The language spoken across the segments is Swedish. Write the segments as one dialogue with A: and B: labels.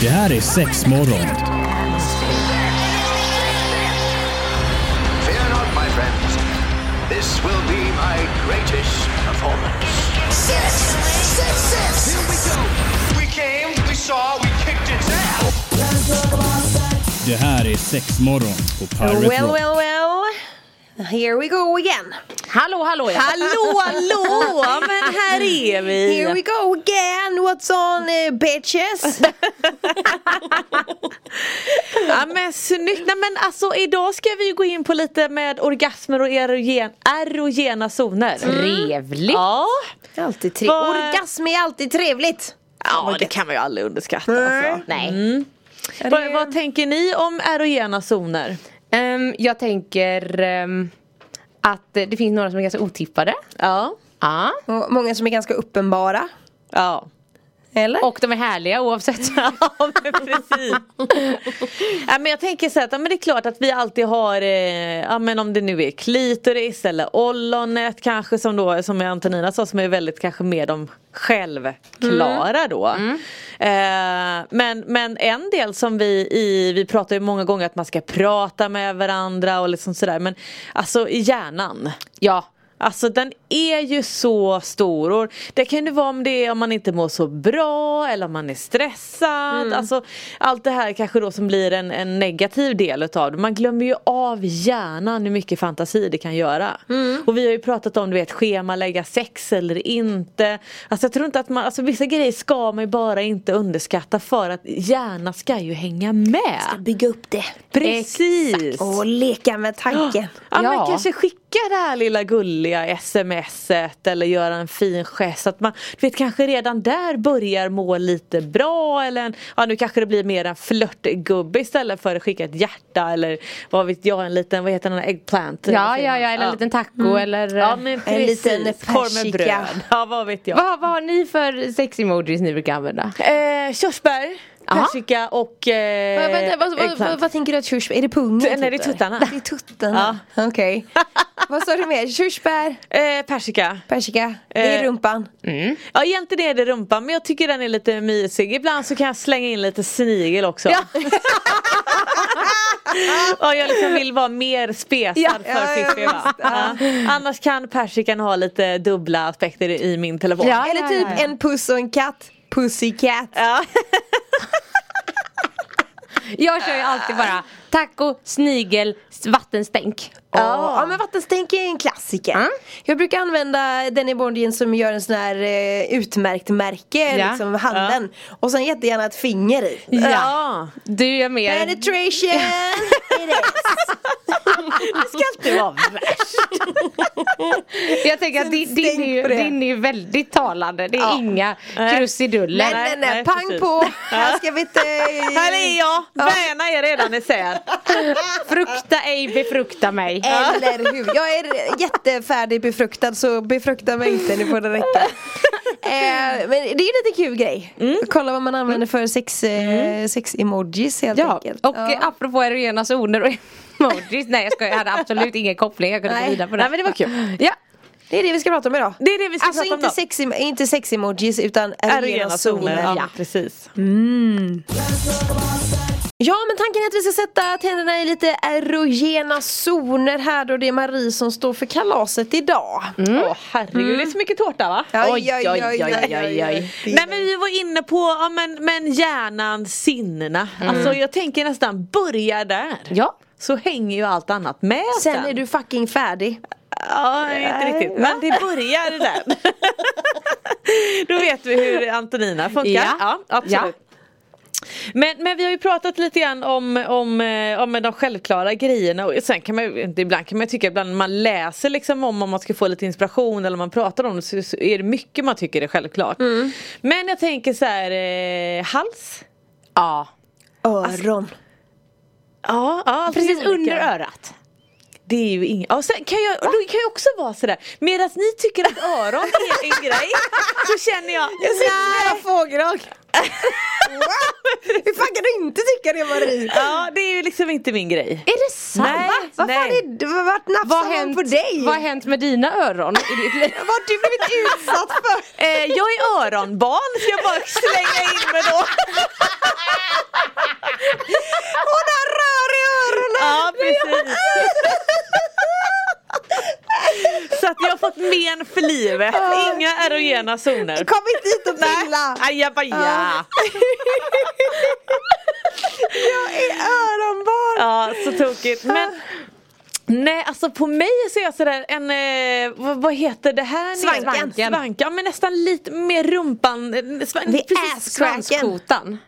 A: Det här är sex morgon.
B: Fear not, my friends. This will be my greatest performance.
C: Six, six, six.
B: We came, we saw, we kicked its ass.
A: Det här är sex morgon på Pirate
D: Well,
A: Rock.
D: well, well. Here we go again.
E: Hallå, hallå! ja.
D: Hallå, hallå! Men här är vi. Here we go again. What's on eh, bitches?
E: Ja, men snyggt! Nej, men alltså, idag ska vi ju gå in på lite med orgasmer och erogen, erogena zoner. Mm. Trevligt! Ja.
D: Alltid tre.
E: Vad-
D: Orgasm är alltid trevligt.
E: ja, det kan man ju aldrig underskatta. Alltså.
F: Nej.
E: Vad, vad tänker ni om erogena zoner?
F: Ehm, jag tänker ehm, att eh, det finns några som är ganska otippade.
E: Ja.
F: Ja.
D: Och många som är ganska uppenbara.
E: Ja.
D: Eller?
F: Och de är härliga oavsett.
E: Ja men precis. ja, men jag tänker så här att ja, men det är klart att vi alltid har, eh, ja, men om det nu är klitoris eller ollonet kanske som då som Antonina sa som är väldigt kanske mer de självklara då. Eh, men, men en del som vi i, vi pratar ju många gånger att man ska prata med varandra och liksom sådär men alltså i hjärnan.
F: ja.
E: Alltså den är ju så stor och det kan ju vara om det är om man inte mår så bra eller om man är stressad.
D: Mm.
E: Alltså, allt det här kanske då som blir en, en negativ del utav det. Man glömmer ju av hjärnan hur mycket fantasi det kan göra.
D: Mm.
E: Och vi har ju pratat om du vet schemalägga sex eller inte. Alltså jag tror inte att man, alltså vissa grejer ska man ju bara inte underskatta för att hjärnan ska ju hänga med.
D: Bygga upp det.
E: Precis!
D: Och leka med tanken.
E: Ja, men
F: Ja.
E: kanske skicka det här lilla gulliga smset eller göra en fin gest. Så Att man du vet, kanske redan där börjar må lite bra. Eller en, ja, nu kanske det blir mer en flörtgubbe istället för att skicka ett hjärta eller vad vet jag, en liten, vad heter den, här, eggplant?
F: Ja, ja, ja, eller en liten taco eller... eh,
E: Ja men
D: En
E: precis,
D: liten
E: korv med
D: persika.
E: bröd. Ja vad vet jag.
F: vad, vad har ni för sex-emojis ni brukar använda?
E: Eh, körsbär,
F: Aha.
E: persika och eh,
D: Men vänta, vad, vad, vad,
E: eggplant.
D: vad tänker du att körsbär, är det pungen?
E: Nej, det är
D: typ, eller?
E: tuttarna.
D: Det är tuttarna. Okej. vad sa du mer? Körsbär,
E: Eh, persika.
D: persika, det är
E: Eh,
D: rumpan.
E: Ja egentligen är det rumpan men jag tycker den är lite mysig. Ibland så kan jag slänga in lite snigel också. Ja. jag liksom vill vara mer spesad
D: Ja,
E: för
D: ja, ja,
E: Fiffi va? Ja. Annars kan persikan ha lite dubbla aspekter i min telefon.
F: Ja.
D: Eller typ en puss och en katt. Pussycat.
E: Ja.
F: Jag kör ju alltid bara taco, snigel, s- vattenstänk.
D: Ja, ja men vattenstänk är en klassiker. Jag brukar använda den i Bondien som gör en sån här eh, utmärkt märke,
F: Ja.
D: liksom handen. Och sen jättegärna ett finger i.
E: ja.
F: Du gör mer.
D: Penetration! it is.
E: Det ska alltid vara värst.
F: Jag tänker att din, din, är
D: stänk
F: ju,
D: på det.
F: din är ju väldigt talande. Det är inga
E: Nej.
F: krusiduller.
D: nej, nej, nej,
E: nej,
D: pang
E: precis.
D: på! Här ska vi inte...
E: Här är jag, väna är redan isär.
F: Frukta ej, befrukta mig.
D: Eller hur? Jag är jättefärdig befruktad så befrukta mig inte, nu får det räcka. Eh, men det är ju en lite kul grej.
E: Mm.
D: Kolla vad man använder för sex, eh, sex emojis helt
F: Ja,
D: enkelt.
F: och ja. apropå erogena zoner och emojis. Nej jag skojar, jag hade absolut ingen koppling. Jag kunde
D: Nej.
F: gå vidare på det.
E: Nej men det var kul.
F: Ja,
D: Det är det vi ska prata om idag.
E: Det är det vi ska
D: Alltså
E: prata om
D: inte
E: då.
D: sex, em- inte sex emojis utan erogena zoner.
E: Ja,
D: Ja.
E: precis.
D: ja men tanken är att vi ska sätta tänderna i lite erogena zoner här då det är Marie som står för kalaset idag.
E: Åh herregud, det är så mycket tårta va? Nej men vi var inne på, ja, men, men hjärnan, sinnena.
D: Mm.
E: Alltså jag tänker nästan börja där.
F: ja.
E: Så hänger ju allt annat med
D: Sen är du fucking färdig.
E: Ja, inte riktigt. Men det börjar där. Då vet vi hur Antonina funkar.
F: Ja.
E: absolut. Men, men vi har ju pratat lite grann om, om, eh, om de självklara grejerna och sen kan man ju, inte ibland kan man ju tycka ibland när man läser liksom om om man ska få lite inspiration eller man pratar om det så, så är det mycket man tycker är självklart. Men jag tänker så här, eh, hals?
F: ja.
D: Öron. Alltså,
E: Ja, ja
F: Precis
E: olika.
F: under örat.
E: det är ju inget. Ja, sen kan jag, det kan ju också vara sådär. Medan ni tycker att öron är en grej. Så känner jag.
D: Jag sitter
E: nej.
D: med fågelholk. Hur fan kan du inte tycka det Marie?
E: Ja det är ju liksom inte min grej.
F: Är det sant?
E: Nej,
F: Va?
D: Vad fan
E: nej.
D: är det? Vart
F: Vad
D: nafsar
F: hänt,
D: man på dig?
F: vad har hänt med dina öron? i ditt liv?
D: Vad har du blivit utsatt för?
E: Eh, jag är öronbarn ska jag bara slänga in med då.
D: Hon har rör i öronen!
E: Ja precis. Så att jag har fått men för livet. Inga erogena zoner.
D: Kom inte hit och pilla!
E: Ajabaja!
D: Jag är öronbarn!
E: Ja, så tokigt. Men nej, alltså på mig så är jag sådär en, eh, vad, vad heter det här? nere?
D: Svanken.
E: Svank, ja men nästan lite mer rumpan. eh, Svan,
D: Det är asscrack.
F: Svanskotan.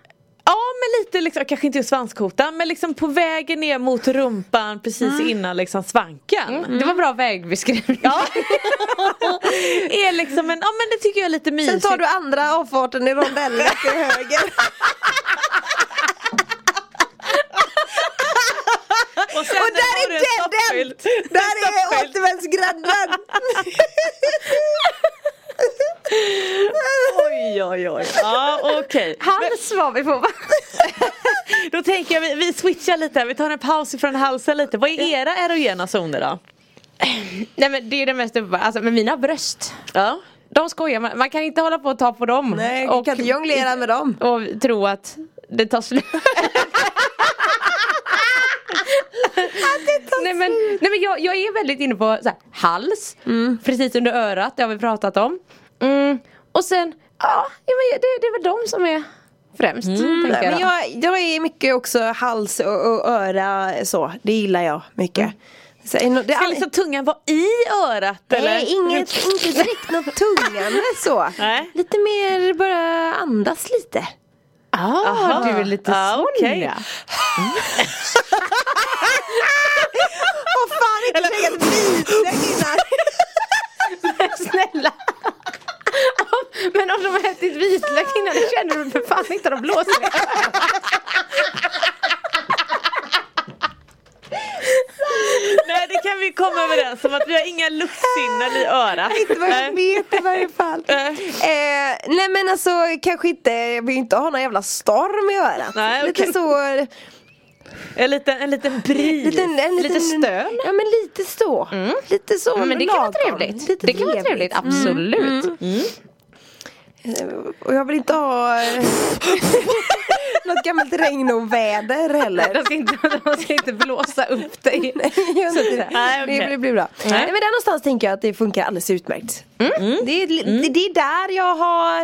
E: Ja men lite liksom, kanske inte just svanskotan men liksom på vägen ner mot rumpan precis
D: Ah.
E: innan liksom svanken.
F: Mm. Det var bra vägbeskrivning.
E: Ja. är liksom en, ja men det tycker jag är lite
D: Sen
E: mysigt.
D: tar du andra avfarten i rondellen till höger.
E: och, sen
D: Och där
E: har
D: är
E: du en
D: dead
E: stoppskylt.
D: end! Där
E: En
D: är
E: stoppskylt.
D: återvändsgrädden!
E: Oj oj oj. Ja okej.
F: Hals var vi på va?
E: Då tänker jag vi, vi switchar lite, här. vi tar en paus ifrån halsen lite. Vad är era erogena zoner då?
F: Nej men det är ju det mest uppenbara, alltså med mina bröst.
E: Ja.
F: De skojar man, man kan inte hålla på och ta på dem.
D: Nej,
F: och,
D: kan inte jonglera med dem.
F: och tro att det tar slut. Nej men, nej, men jag, jag är väldigt inne på så här, hals,
D: Mm.
F: precis under örat, det har vi pratat om. Mm. Och sen, ja, ja, men det, det är väl de som är främst. tänker
D: Mm, Men
F: då.
D: jag, jag är mycket också hals och, och öra så, det gillar jag mycket. Så, är no- Mm. det
E: Ska
D: är
E: liksom tungan vara i örat eller?
D: Nej, inget, inte direkt något tungande så.
E: Nej.
D: Lite mer bara andas lite.
F: Ah, du är lite
E: Ja,
F: sån
E: okej.
F: ja. Mm.
D: Åh fan, inte lägga ett biträck innan.
F: Snälla! Om- Men om de har ätit vitlök innan det känner du för fan inte de blåser i.
E: Nej det kan vi komma överens om att vi har inga luftsinnen i örat.
D: Inte vad jag
E: Nej.
D: vet i varje fall.
E: Nej.
D: Eh, nej men alltså kanske inte, jag vill ju inte ha någon jävla storm i örat.
E: Nej,
D: Lite
E: okej.
D: så,
E: En liten, en liten bris.
D: liten, en
F: Lite
D: liten,
F: stön. Mm.
D: Ja men lite så. Lite så.
F: Men det kan vara
D: lagom.
F: trevligt.
D: Lite
F: det kan vara trevligt, absolut.
D: Eh, Och jag vill inte ha eh, något gammalt regn och väder heller.
F: De, ska inte, de ska inte blåsa upp dig.
D: Nej, gör inte det.
E: Nej, okej.
D: det, blir, blir bra. Nej. men där någonstans tänker jag att det funkar alldeles utmärkt.
F: Mm.
D: Mm. Det, är, det, det är där jag har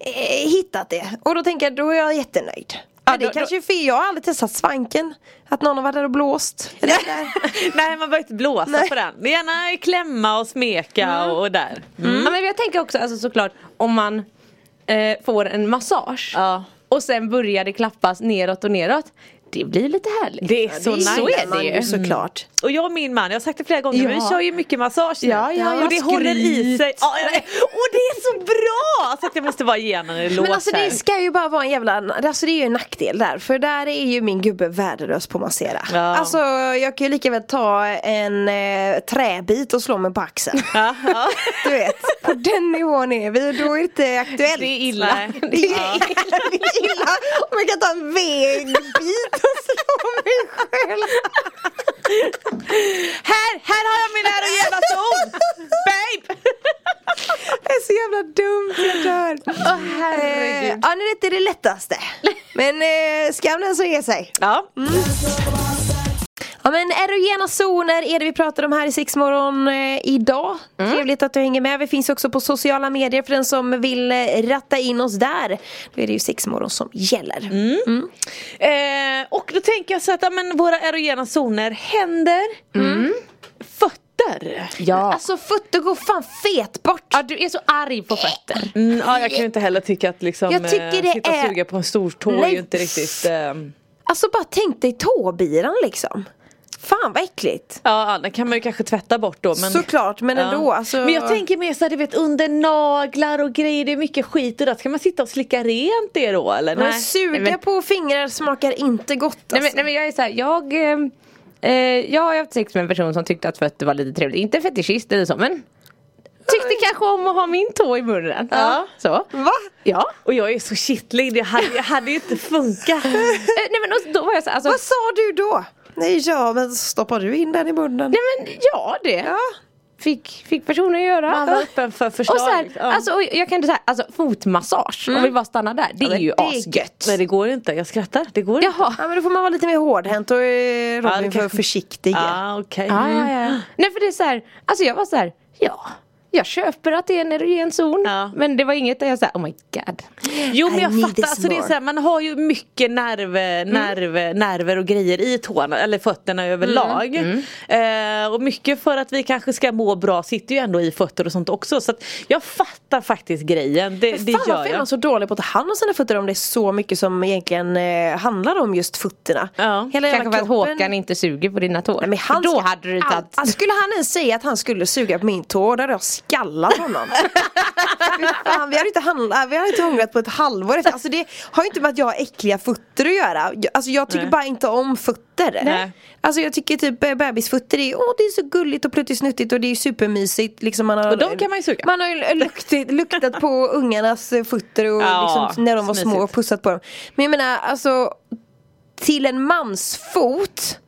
D: eh, hittat det. Och då tänker jag, då är jag jättenöjd. Men det
E: då-
D: kanske är fel, jag har aldrig testat svanken. Att någon har varit där och blåst. Eller sådär.
E: Nej man behöver inte blåsa
D: Nej.
E: på den. Gärna klämma och smeka och, och där.
F: Ja, men jag tänker också alltså, såklart om man eh, får en massage
E: Ja.
F: och sen börjar det klappas neråt och neråt. Det blir lite härligt.
E: Det är så nice.
F: så är
D: gillar man
F: det ju.
D: Såklart.
E: Och jag och min man, jag har sagt det flera gånger, men vi
F: Ja.
E: kör ju mycket massage nu.
F: Ja, ja,
E: och
F: jag
E: det håller i
F: skryt.
E: sig. Ja, jag vet. och det är så bra! Så att jag måste vara igenom en låt
D: Men alltså
E: här.
D: det ska ju bara vara en jävla, alltså det är ju en nackdel där för där är ju min gubbe värdelös på att massera
E: Ja.
D: Alltså jag kan ju lika väl ta en eh, träbit och slå mig på axeln
E: Ja, ja.
D: Du vet, på den nivån är vi och då är det inte aktuellt
E: Det är illa.
D: Det är illa, det är illa om jag kan ta en vägbit och slå mig själv
E: Här, här har jag min erogena zon! Babe!
D: Det är så jävla dumt, jag dör Åh herregud Ja nej, det är inte det lättaste Men eh, skam den som ger sig
E: Ja.
D: Ja men erogena zoner är det vi pratar om här i Sexmorgon eh, idag. Trevligt att du hänger med. Vi finns också på sociala medier för den som vill eh, ratta in oss där. Då är det ju Sexmorgon som gäller.
E: Mm. Eh, och då tänker jag så att ja, men våra erogena zoner, händer, fötter.
F: Ja.
D: Alltså fötter går fan fet bort.
F: ja, du är så arg på fötter.
E: Mm, ja, jag kan ju inte heller tycka att liksom,
D: Jag tycker
E: eh,
D: det
E: sitta
D: är-
E: och suga på en stor tå är
D: Nej.
E: ju inte riktigt... ehm,
D: Alltså bara tänk dig tåbiran liksom. Fan vad äckligt.
E: Ja, ja, den kan man ju kanske tvätta bort då. Men...
D: Såklart men
E: Ja.
D: ändå. Alltså...
E: Men jag tänker mer såhär du vet under naglar och grejer, det är mycket skit och då ska man sitta och slicka rent det då eller?
D: Men
E: Nej.
D: suga
F: Nej, men-
D: på fingrar smakar inte gott alltså.
F: Nej, men, nej men jag är såhär, jag eh, Eh, jag har ju haft sex med en person som tyckte att fötter var lite trevligt. Inte fetischist eller så men Tyckte kanske om att ha min tå i munnen. Ja. Så.
D: Va?
F: Ja.
E: Och jag är så kittlig, det hade, det hade ju inte funkat.
F: Eh, nej men och då var jag så här, alltså,
D: Vad sa du då? Nej ja men stoppar du in den i munnen?
F: Nej men ja det fick, fick personen göra.
E: Man var öppen för förslag.
F: och så här,
E: liksom. Ja.
F: alltså, och jag kan inte säga, alltså fotmassage, om vi bara stannar där, Mm. det är ju
D: det är
F: asgött.
E: Nej det går inte, jag skrattar. Det går inte.
F: Jaha.
D: Ja men då får man vara lite mer hårdhänt och eh,
E: Ja,
D: Robin
E: det
D: för
E: kanske-
D: försiktig.
E: Ah, okej.
F: Ja,
E: Mm.
F: ja, ja. Nej för det är så här, alltså jag var så här, ja. Jag köper att det är en erogen zon
E: Ja.
F: men det var inget där jag sa oh my god.
E: Jo men
D: I
E: jag
D: need
E: fattar,
D: this
E: alltså, det är
D: more. Mm.
E: så här, man har ju mycket nerv, nerv, nerver och grejer i tårna eller fötterna överlag.
D: Mm.
E: Eh, och mycket för att vi kanske ska må bra sitter ju ändå i fötter och sånt också. Så att jag fattar faktiskt grejen, det, det
D: Fan
E: gör
D: varför är
E: jag.
D: man så dålig på att ta hand om sina fötter om det är så mycket som egentligen eh, handlar om just fötterna?
E: Ja,
D: Hela jävla
F: Kanske för att
D: kroppen.
F: Håkan inte suger på dina tår.
D: Nej, men han
F: För då
D: ska-
F: hade du
D: Al-
F: tagit
D: alltså, skulle han ens säga att han skulle suga på min tå då hade jag skallat honom. Fy fan, vi hade inte handlat, vi hade inte hungrat på ett halvår efter. Alltså det har ju inte med att jag har äckliga fötter att göra. Jag- Alltså jag tycker
E: Nej.
D: bara inte om fötter.
E: Nej.
D: Alltså jag tycker typ eh, bebisfötter är, åh det är så gulligt och pluttisnuttigt och det är supermysigt. Liksom man har,
E: Och de kan man ju suga.
D: Man har ju luktit, luktat på ungarnas eh, fötter och
E: Ja,
D: liksom, när de var små
E: mysigt.
D: och pussat på dem. Men jag menar alltså till en mans fot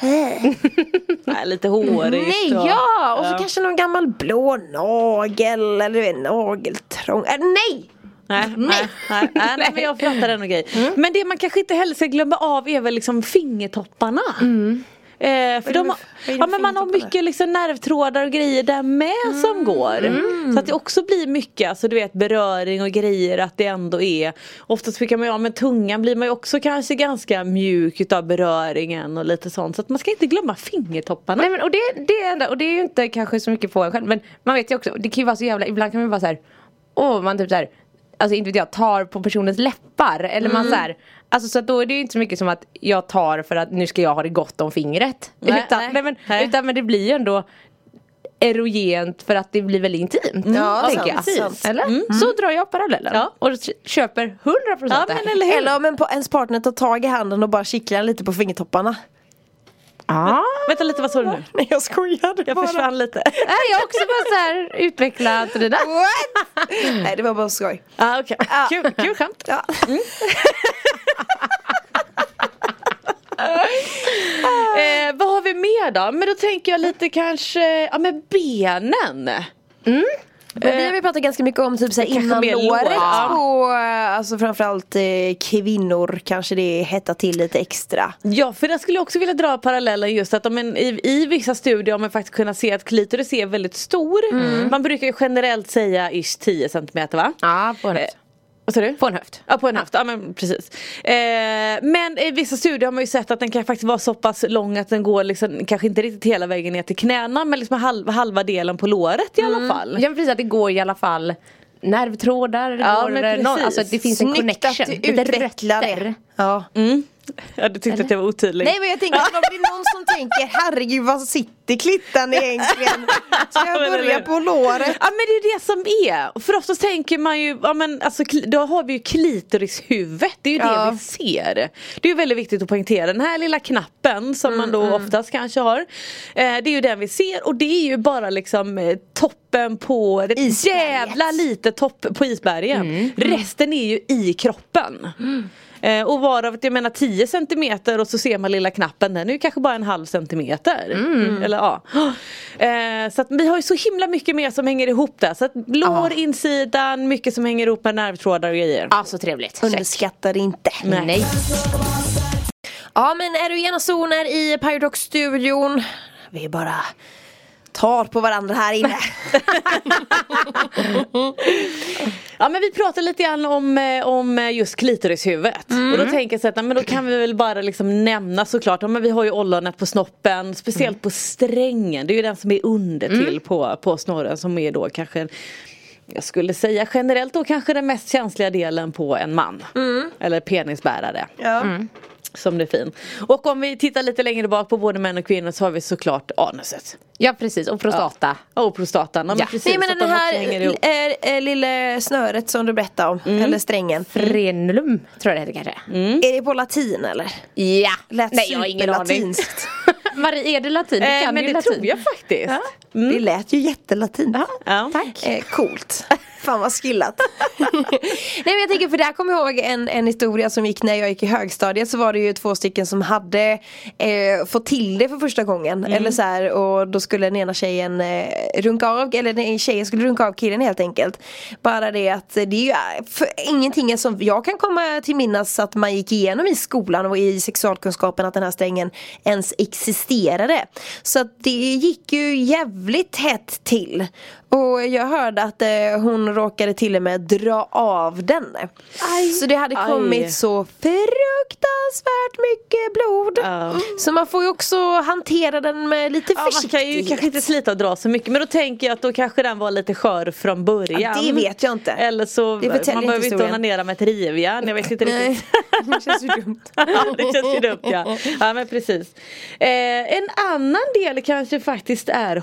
E: Nej, lite hårigt.
D: Nej,
E: och-
D: ja! Och så kanske någon gammal blå nagel eller du vet, nageltrång. Äh, nej!
E: Nej, nej, nej, nej, nej men jag fattar den och grej. Men det man kanske inte heller ska glömma av är väl liksom fingertopparna. Eh, för
D: det med-
E: de, har-
D: vad är det
E: ja,
D: med
E: men man har
D: fingertopparna?
E: mycket liksom nervtrådar och grejer där med som går. Så att det också blir mycket alltså, du vet, beröring och grejer att det ändå är Oftast brukar man ju, ja men tungan blir man ju också kanske ganska mjuk utav beröringen och lite sånt. Så att man ska inte glömma fingertopparna.
F: Nej men och det, det är ändå, och det är ju inte kanske så mycket på en själv men man vet ju också, det kan ju vara så jävla, ibland kan man ju vara såhär, åh man typ såhär, alltså inte vet jag, tar på personens läppar eller
D: Mm.
F: man såhär, alltså så att då är det ju inte så mycket som att jag tar för att nu ska jag ha det gott om fingret.
E: Nej,
F: utan,
E: nej.
F: nej, men,
E: Nej.
F: utan men det blir ju ändå erogent för att det blir väldigt intimt.
D: Mm. Ja, sant,
F: tänker jag.
D: sant. Mm.
F: Eller? Så drar jag parallellen.
E: Ja.
F: Och k- köper 100%
E: Ja,
F: det här.
E: men eller hur?
D: Eller om en, pa- ens partner tar tag i handen och bara kittlar lite på fingertopparna.
F: ah.
E: Vänta lite, vad sa du nu?
D: Nej jag skojade
E: Jag
D: bara.
E: försvann lite. Äh,
F: Nej, Äh, jag har också bara såhär utvecklat det där.
D: What? nej det var bara skoj.
E: Ah, okay.
D: Ja.
E: kul, kul skämt. Mm,
D: Ja.
E: Eh, vad har vi mer då? Men då tänker jag lite kanske, ja men benen.
D: Men vi har ju pratat ganska mycket om typ såhär
E: Kanske
D: innan
E: mer lår,
D: låret
E: ja.
D: på eh, alltså framförallt eh, kvinnor kanske det hettar till lite extra.
E: Ja för där skulle jag också vilja dra parallellen just att om en, i, i vissa studier har man faktiskt kunnat se att klitoris är väldigt stor. Mm. Man brukar ju generellt säga ish 10 cm va? Eh,
F: Ja, på en höft.
E: Vad sa du?
F: På en höft.
E: Ja på en höft, ja men precis. Eh, men i vissa studier har man ju sett att den kan faktiskt vara så pass lång att den går liksom kanske inte riktigt hela vägen ner till knäna men liksom halva, halva delen på låret i alla fall.
F: Ja men precis att det går i alla fall nervtrådar, det
E: Ja,
F: går,
E: men
F: någon,
E: precis.
F: alltså att det finns en
D: Snyggt att
F: connection.
D: du
F: lite
D: utvecklar
F: rötter.
D: det. Ja.
E: Ja du tyckte att jag var otydlig.
D: Nej men jag tänker att om det är någon som tänker herregud vad sitter klittan egentligen? Ska jag
E: Men eller
D: börja
E: hur?
D: på låret?
E: Ja men det är det som är. För oftast tänker man ju, ja men alltså kli- då har vi ju klitorikshuvudet. Det är ju
D: Ja.
E: det vi ser. Det är ju väldigt viktigt att poängtera. Den här lilla knappen som man då oftast kanske har. Eh, det är ju den vi ser och det är ju bara liksom eh, toppen på, det
D: Isberget.
E: jävla lite topp på isbergen. Resten är ju i kroppen. Eh, och varav, jag menar 10 centimeter och så ser man lilla knappen, den är ju kanske bara en halv centimeter. Eller, ja. eh, så att vi har ju så himla mycket mer som hänger ihop där. Så att lår, insidan, mycket som hänger ihop med nervtrådar och grejer.
F: Ja så trevligt. Check.
D: Underskatta det inte.
E: Nej.
F: Nej.
D: Ja men erogena zoner i Pyrodox-studion. Vi bara tar på varandra här inne.
E: Ja men vi pratade lite grann om, eh, om eh, just klitorishuvudet.
F: Mm.
E: Och då tänker jag så att, nej, men då kan vi väl bara liksom nämna såklart, ja, men vi har ju ollonet på snoppen, speciellt på strängen. Det är ju den som är under
F: Mm.
E: till på, på snorren som är då kanske en, jag skulle säga
F: Mm.
D: Mm.
E: generellt då kanske den mest känsliga delen på en man. Eller penisbärare.
D: Ja.
E: Som det är fin. Och om vi tittar lite längre bak på både män och kvinnor så har vi såklart anuset.
F: Ja precis, och prostata.
E: Ja, Och prostatan. Ja, men
F: Ja.
E: precis.
D: Nej
E: så
D: men
E: att
D: det
E: de också
D: här
E: hänger ihop.
D: är, är lilla snöret som du berättade om, eller strängen.
F: Frenulum tror jag det heter kanske.
D: Är det på latin eller?
F: Ja!
D: Mm. Lät
F: Nej jag har ingen aning.
D: superlatinskt.
F: Marie, är det latin? Du
E: Eh,
F: kan
E: men
F: ju
E: det
F: latin.
E: tror jag faktiskt.
F: Ja.
D: Det lät ju jättelatin.
E: Ja.
D: Eh, coolt. Fan vad skillat. Nej men jag tänker för där kommer jag ihåg en, en historia som gick när jag gick i högstadiet så var det ju två stycken som hade eh, fått till det för första gången. Eller så här, och då skulle den ena tjejen eh, runka av, eller nej, tjejen skulle runka av killen helt enkelt. Bara det att eh, det är ju eh, för, ingenting som jag kan komma till minnas att man gick igenom i skolan och i sexualkunskapen att den här strängen ens existerade. Så att det gick ju jävligt hett till. Och jag hörde att eh, hon råkade till och med dra av den. så det hade
E: Aj.
D: kommit så fruktansvärt mycket blod.
E: Ja.
D: Så man får ju också hantera den med lite
E: Ja, man
D: försiktighet.
E: kan ju kanske inte slita och dra så mycket men då tänker jag att då kanske den var lite skör från början.
D: Ja, det vet jag inte.
E: Eller så,
D: Det förtäljer
E: man
D: inte
E: behöver inte
D: historien.
E: onanera med ett rivjärn, jag vet inte
D: Nej,
E: riktigt.
D: det känns ju dumt.
E: Ja, det känns ju dumt ja. Ja men precis. Eh, en annan del kanske faktiskt är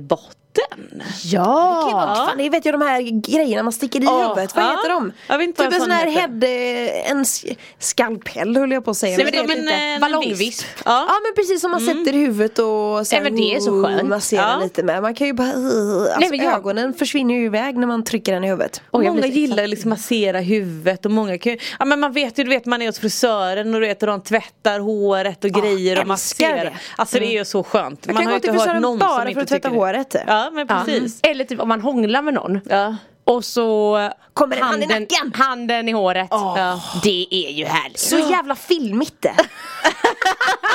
E: hårbotten.
D: Det kan ju vara-
E: Ja.
D: Fan, det vet jag de här grejerna man sticker i
E: Ja.
D: huvudet, vad
E: Ja.
D: heter de?
E: Jag vet inte
D: typ
E: vad
D: en
E: en
D: sån
E: sån
D: här
E: heter.
D: head, eh, en s- skalpell höll jag på att säga.
E: Nej,
D: men
E: men
D: det-
E: de- en, eh, en
F: Ballongvisp.
E: visp. Mm.
D: Ja men precis som man sätter i huvudet och sen
F: Nej, men det är så skönt.
D: masserar
E: Ja.
D: lite med. Man kan ju bara, alltså,
F: Nej, men jag-
D: ögonen försvinner ju iväg när man trycker den i huvudet.
F: Oj, jag blir
E: många
F: så
E: gillar ju liksom massera huvudet och många kan ju, ja men man vet ju, du vet man är hos frisören och du vet och de tvättar håret och grejer och
D: älskar
E: masserar.
D: det. Mm.
E: Alltså det är ju så skönt.
D: Jag kan gå till frisören bara för att tvätta
E: tycker det.
D: håret.
E: Ja men precis.
F: Eller typ om man hånglar med någon
E: Ja.
F: och så
D: Kommer en hand i nacken.
F: handen i håret.
E: Ja.
F: Det är ju härligt.
D: Så jävla filmigt det.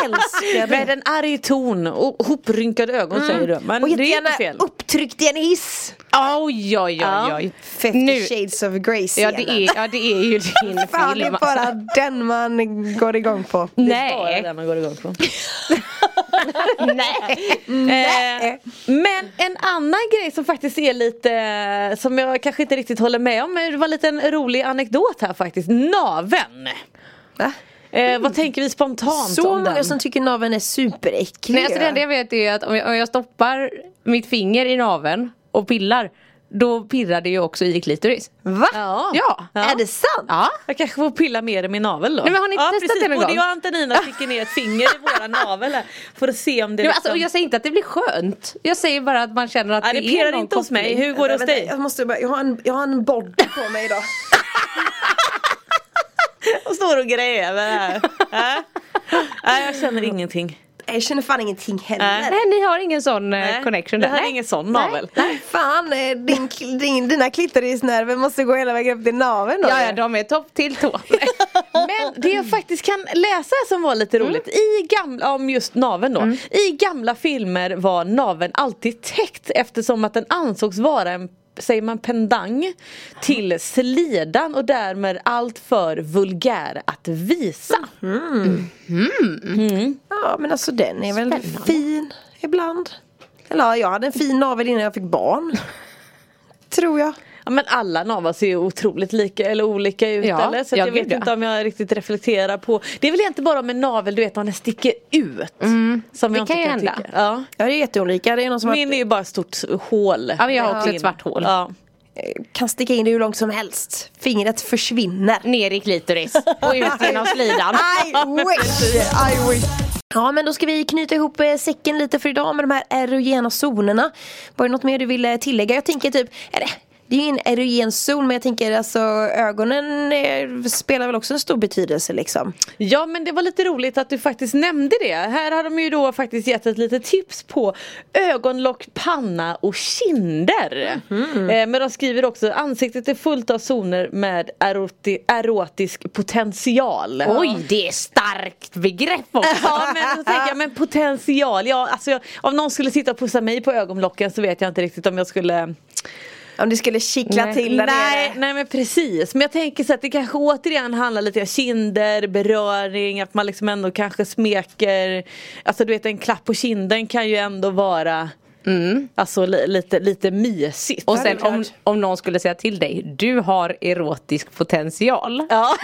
D: Älskar det.
E: Med en arg ton och hoprynkade ögon säger du. Men
D: Mm. Och
E: det är
D: jättegärna
E: inte fel.
D: upptryckt i en hiss.
F: Oj, oj, oj,
E: Ja.
F: oj.
D: Fifty
F: Nu-
D: shades of Grey
F: Ja det, är, ja det är ju din film.
D: Fan det är
F: alltså.
D: bara den man går igång på.
E: Bara det
F: Nej.
E: där man går igång på.
F: Nej.
E: Eh, men en annan grej som faktiskt är lite som jag kanske inte riktigt håller med om. Men det var lite en rolig anekdot här faktiskt. Naven.
D: Va?
E: Eh, vad tänker vi spontant
D: Så
E: om
D: många
E: den?
D: som tycker naveln är superäcklig.
F: Nej alltså det enda jag vet är att om jag, om jag stoppar mitt finger i naveln och pillar då pirrar det ju också i klitoris.
D: Va?
E: Ja.
F: Ja.
D: Är det sant?
F: Ja.
E: Jag kanske får pilla mer i min navel då.
F: Nej, men har ni inte
E: ja,
F: testat det någon
E: Både
F: gång?
E: jag och Antonina sticker ner ett finger i våra navel här, för att se om det liksom
F: Nej, men alltså, och jag säger inte att det blir skönt. Jag säger bara att man känner att
E: Nej,
F: det,
E: det pirrar
F: är någon
E: inte hos mig.
F: koppling.
E: Hur går det hos
D: Vänta,
E: dig?
D: Jag, måste bara, jag, har en, jag har en body på mig idag.
E: Och står och gräver här. Äh? Nej jag känner ingenting.
D: Nej, Jag känner fan ingenting heller.
F: Nej ni har ingen sån eh,
E: Nej,
F: connection
E: det
F: där.
E: här är
F: Nej.
E: ingen sån navel.
D: Nej, Fan, eh, din, kl- din, dina klitorisnerver måste gå hela vägen upp till naveln. då.
F: Ja ja de är topp till tå.
E: Men det jag faktiskt kan läsa som var lite roligt
F: Mm.
E: i gamla, om just naveln då. I gamla filmer var naveln alltid täckt eftersom att den ansågs vara en säger man pendang till slidan och därmed allt för vulgär att visa.
F: Mm.
D: ja men alltså den är väl fin ibland. Eller ja, jag hade en fin navel innan jag fick barn. Tror jag.
E: Ja, men alla navar ser ju otroligt lika eller olika ut
F: Ja,
E: eller? Så att
F: ja,
E: jag vet
F: gud, ja.
E: inte om jag riktigt reflekterar på Det är väl egentligen bara om en navel du vet om den sticker ut. Som
F: Mm. Det
E: jag inte
F: kan ju hända.
E: tycka. Ja.
D: Ja det är jätteolika. Det är någon som
E: Min är ju bara ett stort hål.
F: Ja men jag har också ett svart hål.
E: Ja.
D: har- kan sticka in det hur långt som helst. Fingret försvinner.
F: Ner i klitoris och ut genom slidan.
D: I wish, I wish. Ja men då ska vi knyta ihop eh, säcken lite för idag med de här erogena zonerna. Var det något mer du ville tillägga? Jag tänker typ, eller det är ju en erogen zon men jag tänker alltså ögonen eh, spelar väl också en stor betydelse liksom.
E: Ja men det var lite roligt att du faktiskt nämnde det. Här har de ju då faktiskt gett ett litet tips på ögonlock, panna och kinder. Eh, men de skriver också ansiktet är fullt av zoner med eroti- erotisk potential.
F: Oj det är starkt begrepp också.
E: Ja men då tänker jag, men potential, ja alltså jag, om någon skulle sitta och pussa mig på ögonlocken så vet jag inte riktigt om jag skulle
D: Om du skulle kittla till där
E: nej,
D: nere.
E: nej men precis, men jag tänker så att det kanske återigen handlar lite om kinder, beröring, att man liksom ändå kanske smeker Alltså du vet en klapp på kinden kan ju ändå vara Alltså li, lite, lite mysigt.
F: Och
E: Ja,
F: sen
E: det är
F: om,
E: klart.
F: om någon skulle säga till dig, du har erotisk potential.
E: Ja.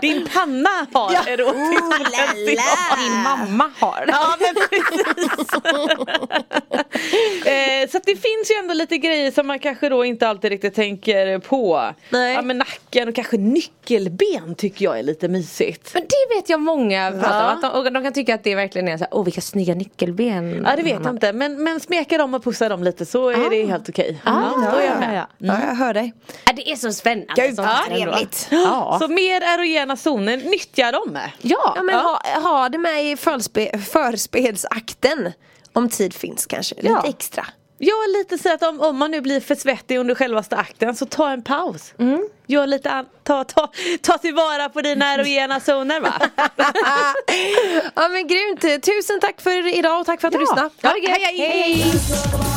E: Din panna har
F: Ja.
E: erotisk potential.
F: Din mamma har.
E: Ja men precis. eh, så att det finns ju ändå lite grejer som man kanske då inte alltid riktigt tänker på.
D: Nej.
E: Ja men nacken och kanske nyckelben tycker jag är lite mysigt.
F: Men det vet jag många pratar om. Att de, och de kan tycka att det verkligen är så här, åh vilka snygga nyckelben.
E: Ja det vet jag inte men, men smeka dem och pussa dem lite så är det helt okej. ja, då är jag med.
D: Ja, jag hör dig.
F: Ja, det är så spännande.
D: Gud
F: som
D: vad
F: fan ändå.
D: trevligt.
F: Ja.
E: Så mer erogena zoner, nyttja dem!
F: Ja.
D: Ja men Ha, ha det med i förspe, förspelsakten. Om tid finns kanske,
E: Ja.
D: lite extra.
E: Jag är lite så att om, om man nu blir för svettig under självaste akten så ta en paus. Gör lite an- ta, ta, ta tillvara på dina erogena zoner va?
D: ja men grymt, tusen tack för idag och tack för att du lyssnade.
E: Ja, hej, hej.
D: hej.
C: Hej!